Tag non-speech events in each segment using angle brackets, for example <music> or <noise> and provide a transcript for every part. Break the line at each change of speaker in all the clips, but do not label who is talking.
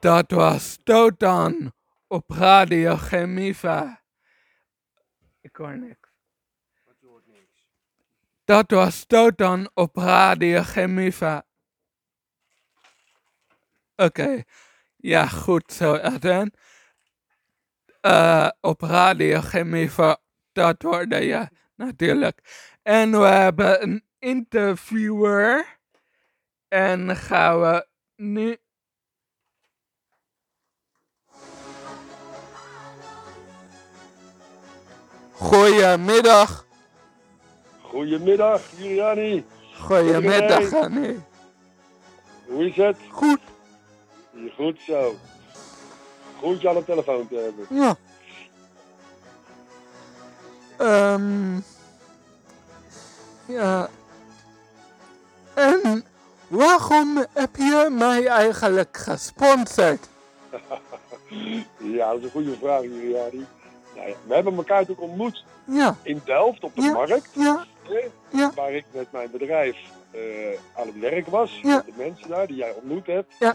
Dat was Totan op Radio Gemiva. Ik hoor niks.
Want je hoort niks.
Dat was Totan op Radio Gemiva. Oké. Ja, goed zo, Eden. Eh, op Radio Gemiva, dat hoorde je natuurlijk. En we hebben een interviewer. En gaan we nu... Goedemiddag.
Goedemiddag, Juliani.
Goedemiddag, Annie.
Hoe is het?
Goed.
Goed zo. Goed je aan de telefoon te hebben.
Ja. Ehm ja. En waarom heb je mij eigenlijk gesponsord?
Ja, dat is een goede vraag, Juliani. Nou ja, we hebben elkaar natuurlijk ontmoet
Ja,
in Delft op de
Ja.
markt.
ja,
hè,
Ja.
Waar ik met mijn bedrijf eh, aan het werk was.
Ja.
Met de mensen daar die jij ontmoet hebt.
Ja.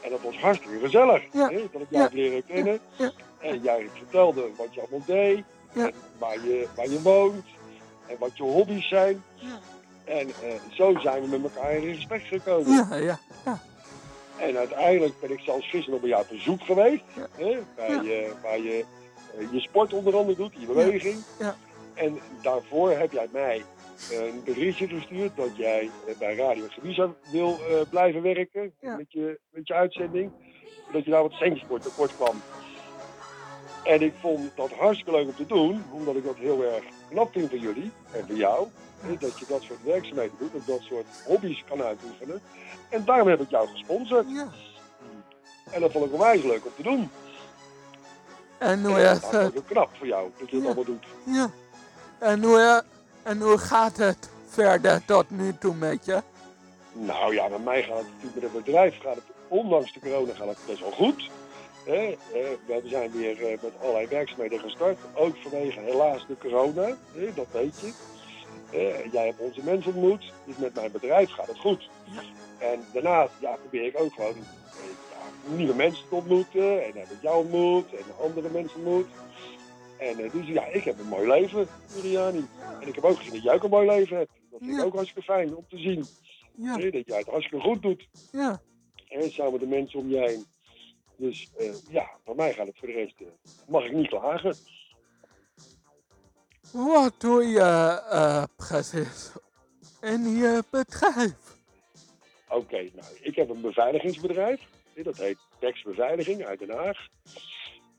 En dat was hartstikke gezellig.
Ja.
hè, Dat ik
Ja.
jou heb leren kennen.
Ja.
En jij vertelde wat je allemaal deed.
Ja.
En waar, je, waar je woont. En wat je hobby's zijn.
Ja.
En eh, zo zijn we met elkaar in gesprek gekomen.
ja, ja.
En uiteindelijk ben ik zelfs gisteren nog bij jou op bezoek geweest.
Ja.
Hè? Bij,
Ja.
je, waar je eh, je sport onder andere doet, je beweging.
Ja.
En daarvoor heb jij mij een berichtje gestuurd dat jij eh, bij Radio Gewisa wil eh, blijven werken
Ja.
met, je, met je uitzending. Dat je daar wat centjes voor tekort kwam. En ik vond dat hartstikke leuk om te doen, omdat ik dat heel erg knap vind van jullie en van jou. hè, Dat je dat soort werkzaamheden doet, dat je dat soort hobby's kan uitoefenen. En daarom heb ik jou gesponsord.
ja.
En dat vond ik onwijs leuk om te doen.
En hoe,
en dat
is
was
het,
heel knap voor jou dat je dat
Nou eh, Ja.
allemaal doet.
ja. En, hoe, en hoe gaat het verder tot nu toe met je?
Nou ja, bij mij gaat het natuurlijk met het bedrijf, gaat het, ondanks de corona gaat het best wel goed. Hè, eh, we zijn weer eh, met allerlei werkzaamheden gestart, ook vanwege helaas de corona, hè, dat weet je. Eh, jij hebt onze mensen ontmoet, dus met mijn bedrijf gaat het goed. En daarnaast ja, probeer ik ook gewoon eh, ja, nieuwe mensen te ontmoeten. En heb ik jou ontmoet en andere mensen ontmoet. En eh, dus ja, ik heb een mooi leven, Juliani. En ik heb ook gezien dat jij ook een mooi leven hebt. Dat vind
Ja.
ik ook hartstikke fijn om te zien.
Ja,
Hè, dat jij het hartstikke goed doet.
ja,
Hè, samen met de mensen om je heen. Dus eh, ja, voor mij gaat het voor de rest. eh, mag ik niet klagen.
wat doe je eh, precies in je bedrijf?
Oké, nou, ik heb een beveiligingsbedrijf. Hè, Dat heet Dex Beveiliging uit Den Haag.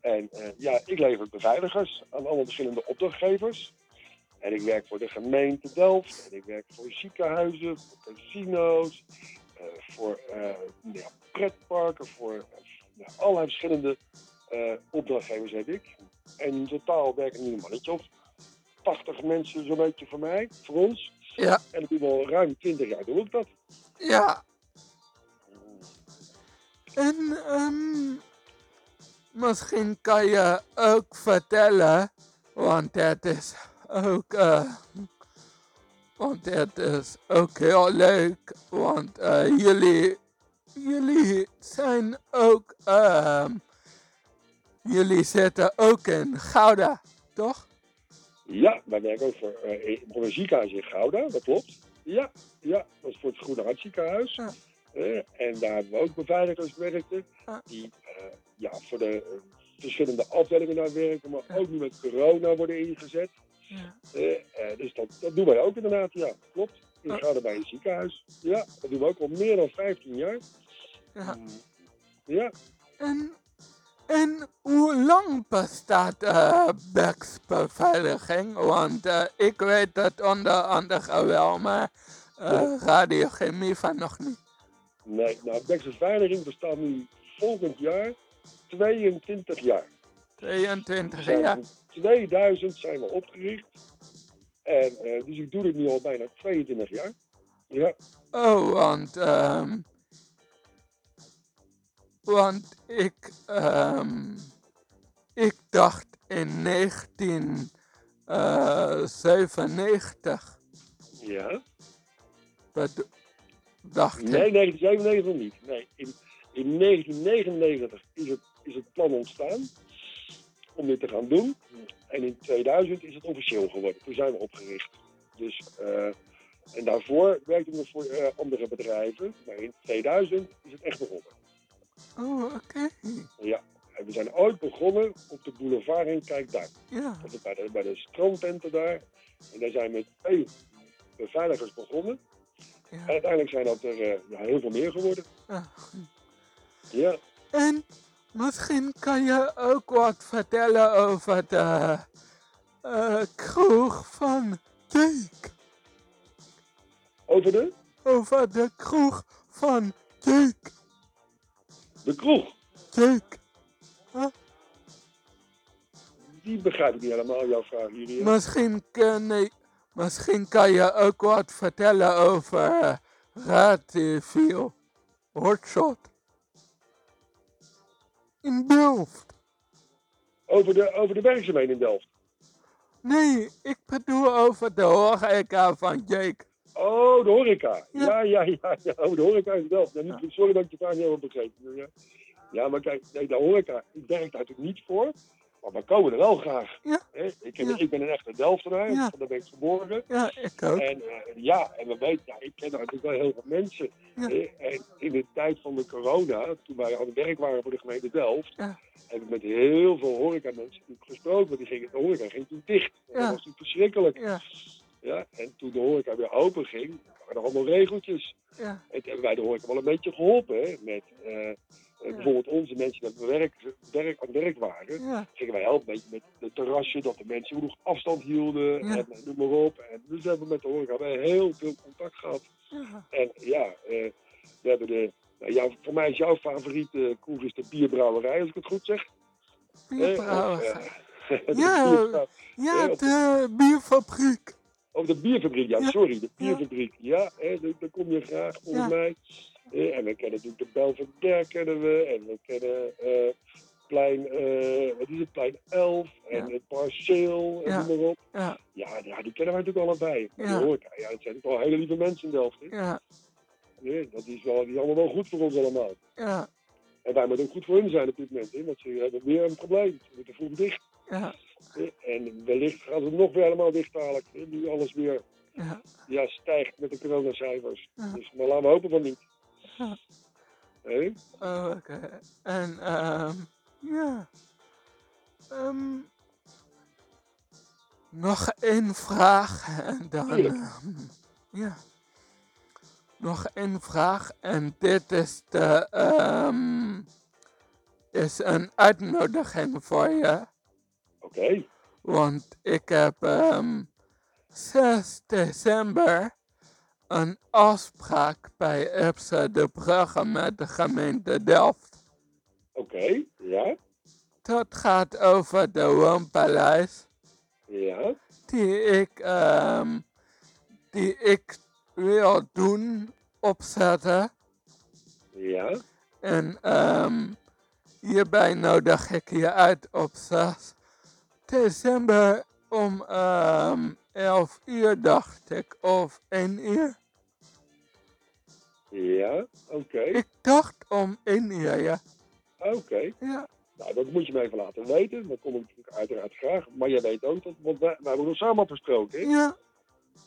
En eh, ja, ik lever beveiligers aan allemaal verschillende opdrachtgevers. En ik werk voor de gemeente Delft. En ik werk voor ziekenhuizen, voor casino's, eh, voor eh, ja, pretparken, voor eh, ja, allerlei verschillende eh, opdrachtgevers heb ik. En in totaal werken nu een mannetje of 80 mensen zo'n beetje voor mij, voor ons.
Ja.
En dat doe ik al ruim 20 jaar doe ik dat.
Ja, En ehm, misschien kan je ook vertellen, want het is ook, eh, want het is ook heel leuk, want eh, jullie, jullie zijn ook, ehm, jullie zitten ook in Gouda, toch?
Ja, wij werken ook voor, eh, voor een ziekenhuis in Gouda, dat klopt. Ja, ja dat is voor het Groene Hart ziekenhuis.
Ja.
Eh, en daar hebben we ook beveiligers werken,
Ja.
die eh, ja, voor de eh, verschillende afdelingen daar werken, maar
Ja.
ook nu met corona worden ingezet.
Ja.
Eh, eh, dus dat, dat doen wij ook inderdaad, ja, klopt. In
Ja.
Gouda bij een ziekenhuis. Ja, dat doen we ook al meer dan 15 jaar. Mm,
Ja.
Ja,
En, en hoe lang bestaat eh Bex beveiliging? Want eh, ik weet het onder andere wel, maar eh radiochemie van nog niet.
nee, nou, Dexter's Veiliging bestaat nu volgend jaar 22 jaar.
22
zijn
jaar.
in 2000 zijn we opgericht. En, eh, dus ik doe dit nu al bijna 22 jaar. Ja,
Oh, want, ehm want ik, ehm ik dacht in eh, 1997,
ja.
bedo- dacht ik.
Nee, 1997 niet. Nee, in, In 1999 is het, is het plan ontstaan om dit te gaan doen. En in 2000 is het officieel geworden. Toen zijn we opgericht. Dus, eh, en daarvoor werkten we voor eh, andere bedrijven. Maar in 2000 is het echt begonnen.
Oh, oké.
En we zijn ooit begonnen op de boulevard in Kijkduin.
Ja.
Dat is bij de, bij de stroomtenten daar. En daar zijn we twee beveiligers begonnen. En
ja.
uiteindelijk zijn dat er eh, ja, heel veel meer geworden.
ja.
Ja,
En misschien kan je ook wat vertellen over de eh, kroeg van Teek.
over de,
Over de kroeg van Teek.
de kroeg.
Teek.
Die begrijp ik niet helemaal, jouw vraag, Julia.
Misschien, kun je- misschien kan je ook wat vertellen over eh, Radio Hotshot. In Delft.
Over de, over de werkzaamheden in Delft.
Nee, ik bedoel over de horeca van Jake.
Oh, de horeca.
Ja.
Ja, ja, ja. ja. Oh, de horeca in Delft. Ja, niet- Sorry dat ik je vraag niet helemaal begrepen. heb, Ja. ja, maar kijk, nee, de horeca, ik werk daar natuurlijk niet voor. Maar we komen er wel graag.
Ja.
Hè? Ik, heb-
Ja.
ik ben een echte Delftenaar,
Ja.
daar ben ik geboren.
Ja, ik ook.
En eh, ja, en we weten, ja, ik ken daar natuurlijk wel heel veel mensen.
Ja.
Eh, En in de tijd van de corona, toen wij aan het werk waren voor de gemeente Delft,
Ja.
heb ik met heel veel horecamensen natuurlijk gesproken. Want die gingen, de horeca ging toen dicht. Dat
Ja.
was natuurlijk verschrikkelijk.
Ja,
Ja, en toen de horeca weer open ging, waren er allemaal regeltjes.
ja,
En toen hebben wij de horeca wel een beetje geholpen. Hè? Met eh, eh, bijvoorbeeld onze mensen die aan het werk, werk, aan het werk waren
ja.
gingen wij helpen met, met het terrasje, dat de mensen genoeg afstand hielden
Ja.
en noem maar op. En dus hebben we met de horeca wel heel veel contact gehad.
ja.
En ja, eh, we hebben de, nou, jouw, voor mij is jouw favoriete kroeg is de bierbrouwerij, als ik het goed zeg. <laughs> Eh, of,
Bierbrouwerij.
eh, de
Ja.
bierbrou-
Ja, de bierfabriek.
Oh, de bierfabriek, ja,
Ja.
sorry, de bierfabriek. Ja, hè, daar, daar kom je graag volgens
Ja.
mij. Eh, en we kennen natuurlijk de Belvedere, kennen we. En we kennen eh, plein, eh, wat is het, plein 11 en
Ja.
het Parceel, en
Ja.
noem maar op.
Ja,
Ja, ja, die kennen wij natuurlijk allebei. Ja.
Ja.
Die horeca, ja, dat zijn ook wel hele lieve mensen in Delft. hè.
ja,
Ja, dat is wel, die is allemaal wel goed voor ons allemaal.
ja,
En wij moeten ook goed voor hun zijn op dit moment, hè, want ze hebben weer een probleem. Ze moeten vroeg dicht.
ja,
hè. En wellicht gaan ze nog weer helemaal dicht dadelijk. hè, Nu alles weer
ja.
ja, stijgt met de coronacijfers.
Ja.
Dus, maar laten we hopen van niet.
Ja.
Hè?
Oh, oké. En, ehm, ja. Ehm, nog één vraag en dan.
Tuurlijk.
ehm, ja. Nog één vraag en dit is de. ehm, is een uitnodiging voor je.
Oké,
Want ik heb ehm 6 december een afspraak bij Epse de Brugge met de gemeente Delft.
oké, ja,
Dat gaat over de Woonpaleis
ja,
die ik, ehm, die ik wil doen, opzetten.
ja.
En ehm, hierbij nodig ik je uit op 6 december om ehm 11 uur, dacht ik, of 1 uur.
Ja, oké,
Ik dacht om 1 uur, ja.
oké.
Ja,
Nou, dat moet je me even laten weten. Dan kom ik natuurlijk uiteraard graag. Maar jij weet ook, dat, want wij, wij hebben nog samen afgesproken. hè?
ja.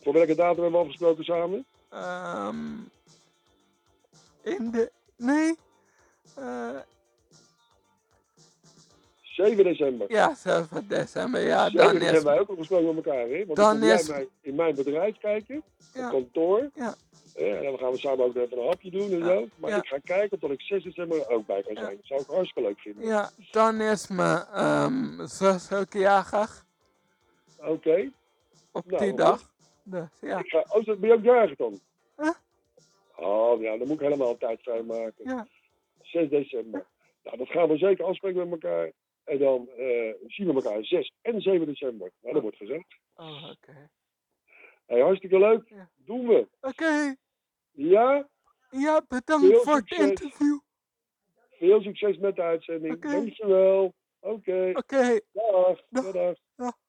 Voor welke datum hebben we afgesproken samen?
Ehm in de. Nee. eh
7 december.
ja, 7 december, ja.
7
Dan
december
is,
hebben wij ook afgesproken met elkaar. Hè? Want
Dan
dan kom jij
is-
mij- in mijn bedrijf kijken,
Ja.
op kantoor.
Ja.
Hè, En dan gaan we samen ook even een hapje doen en zo. Maar
Ja.
ik ga kijken of dat ik 6 december er ook bij kan
Ja.
zijn. Dat zou ik hartstikke leuk vinden.
ja, dan is mijn ehm zus ook jarig
Oké.
op
Nou,
die
goed.
dag. Dus ja.
Ik ga... Oh, dat- ben je ook jarig dan?
Huh?
Oh, ja, dan moet ik helemaal tijd vrijmaken.
Ja.
6 december. Nou, dat gaan we zeker afspreken met elkaar. En dan eh, zien we elkaar 6 en 7 december. Nou, dat wordt gezegd.
Oh, oké.
Hey, hartstikke leuk.
Ja.
Doen we.
Oké,
Ja,
ja, bedankt
Heel
voor het
succes.
interview.
veel succes met de uitzending.
Oké.
Dankjewel. Oké,
Oké,
dag.
Dag.
Dag. dag.
Dag.